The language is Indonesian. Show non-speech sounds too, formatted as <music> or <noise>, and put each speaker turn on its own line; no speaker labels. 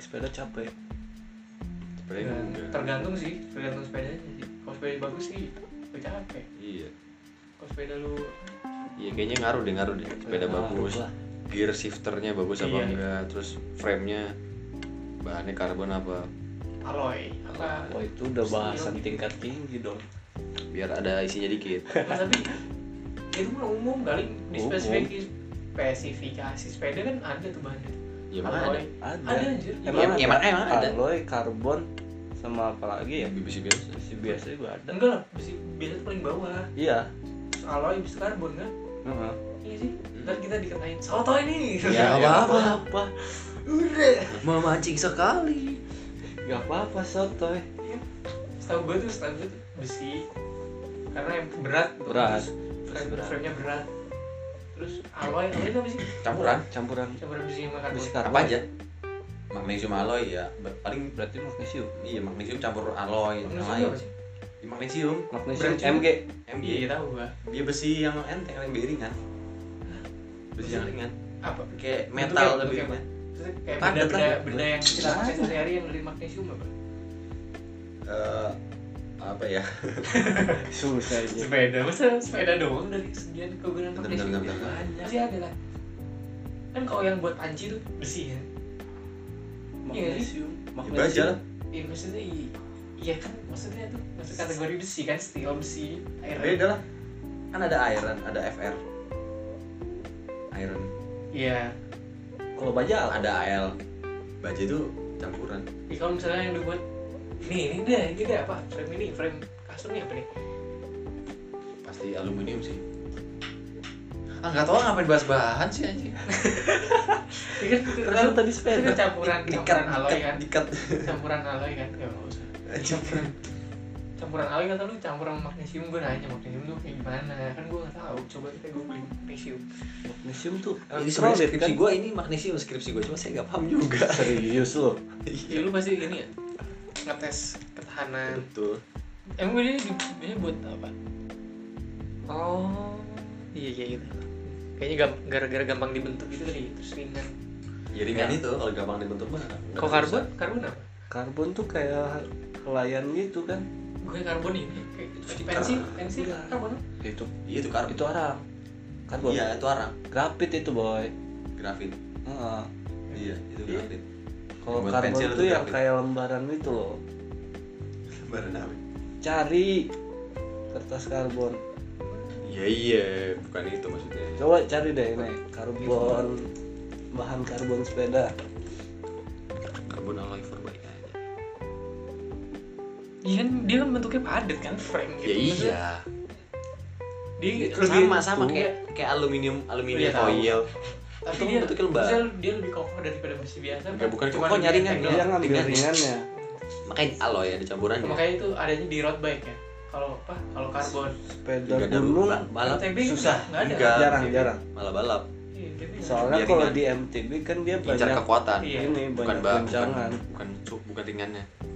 sepeda capek
Sepeda
Iya.
Dan
juga.
tergantung sih tergantung sepedanya sih kalau sepeda bagus sih gak capek
Iya.
kalau sepeda lu
Iya kayaknya ngaruh deh ngaruh deh. Sepeda
Ngaruh
bagus,
Nah, lah.
gear shifternya bagus apa
Iya.
enggak, terus framenya bahannya karbon apa,
alloy apa
wah itu udah
Steel.
bahasan tingkat tinggi dong
biar ada isinya dikit.
Nah, tapi itu mah umum kali di
Umum.
spesifikasi spesifikasi sepeda kan ada tuh bahannya
Ya mana ada.
alloy
ada,
ada anjir Iya.
Emang
Ya, emang- emang ada.
alloy karbon sama apa lagi ya
BBC Iya, biasa.
si biasa juga ada
enggak lah besi biasa tuh paling bawah
iya
Terus alloy bis karbon kan
heeh.
iya sih
Hmm.
ntar kita dikatain soto ini
Nggak
Ya, apa-apa.
apa-apa
<laughs> udah
Memancing sekali.
nggak apa-apa sotoy
setahu gue tuh setahu gue tuh besi karena yang berat tuh.
Berat.
Terus
Terus
frame,
berat.
frame-nya berat terus alloy alloy itu apa sih
Campuran
campuran
campuran besi sama karbon
besi karbon
apa aja? Magnesium alloy ya, ba- paling
berarti magnesium
iya magnesium campur alloy yang
Maksud lu
lain.
apa sih?
Ya, Magnesium,
magnesium
Beracun.
Mg
Iya,
MG.
iya tahu gua.
Dia besi yang enteng, yang ringan. Besi yang ringan.
Apa?
Kayak
Bentuknya-
metal ya. lebih
bentuknya
ringan.
Terus kayak
Padat
benda-benda
lah.
benda yang kita pakai sehari-hari yang dari magnesium apa?
Eh, apa ya?
susah aja
Sepeda, masa sepeda doang dari sekian kegunaan
Bentar,
magnesium
bentar, bentar,
banyak sih ada lah. Kan kalau yang buat panci tuh besi ya.
magnesium
Ya, baja lah.
Iya maksudnya i- iya kan maksudnya tuh masuk kategori besi kan steel besi air
Beda lah. Kan ada iron, ada FR. Iron. Ya,
Iya.
kalau baja apa?
Ada AL. Baja itu campuran.
Ya, kalau misalnya yang dibuat nih ini deh ini deh apa frame ini frame kasur nih apa nih?
Pasti aluminium sih. Ah nggak tahu ngapain bahas bahan sih anjing.
Ini kan itu
Terus
kan-
tadi
itu kan
sepeda
campuran campuran alloy kan.
dikat.
campuran alloy kan ya nggak usah campuran campuran alloy kata lu campuran magnesium gue nanya magnesium tuh kayak gimana kan gue nggak tahu coba kita googling magnesium
magnesium tuh kan?
Ini sebenarnya
elektrolit
skripsi kan? gue ini magnesium skripsi gue cuma saya nggak paham juga.
serius loh
ya lu pasti ini ya ngetes ketahanan
Betul.
emang gue ini ini buat apa oh iya iya gitu kayaknya gam- gara-gara gampang dibentuk gitu kali terus ringan
Ya ringan itu kalau gampang dibentuk mah. nggak
kok
susah.
karbon karbon apa
karbon tuh kayak kelayan gitu kan
gue karbon ini kayak
Stiker.
pensil pensil karbon
itu
Iya itu karbon.
itu arang karbon
Iya itu arang.
grafit itu boy
Grafit.
Heeh.
Iya itu
Iya.
grafit.
kalau
Buat
karbon
pensil
tuh
itu ya
yang
grafit.
kayak lembaran itu loh
Lembaran apa?
cari kertas karbon
Iya iya bukan itu maksudnya.
coba cari deh ini karbon bahan karbon sepeda
Karbon alloy forbaik aja.
iya kan dia kan bentuknya padat kan frame gitu
Ya iya.
dia
sama sama
Tuh.
kayak kayak aluminium aluminium
gitu. Iya, tahu.
foil.
tapi
Itu
dia
bentuknya lembaran.
maksudnya dia lebih kokoh daripada besi biasa
Enggak, bukan
Cuma
kokoh,
lebih
nyaring
enteng
aja.
dia
doang.
ngambil
Iya, ringan.
ringannya
Makanya alloy ada ya. campurannya.
makanya itu adanya di road bike ya kalau apa kalau karbon
sepeda
Juga ada
gunung
ba- balap
MTB
susah.
nggak ada
Enggak.
jarang
MTB.
jarang
malah balap.
Iya, dia nggak ada.
soalnya
Biar
kalau
ringan.
di MTB kan dia
Incar
banyak
kekuatan.
Iya.
ini
Bukan
banyak
ba bukan
guncangan
bukan cu- bukan ringannya.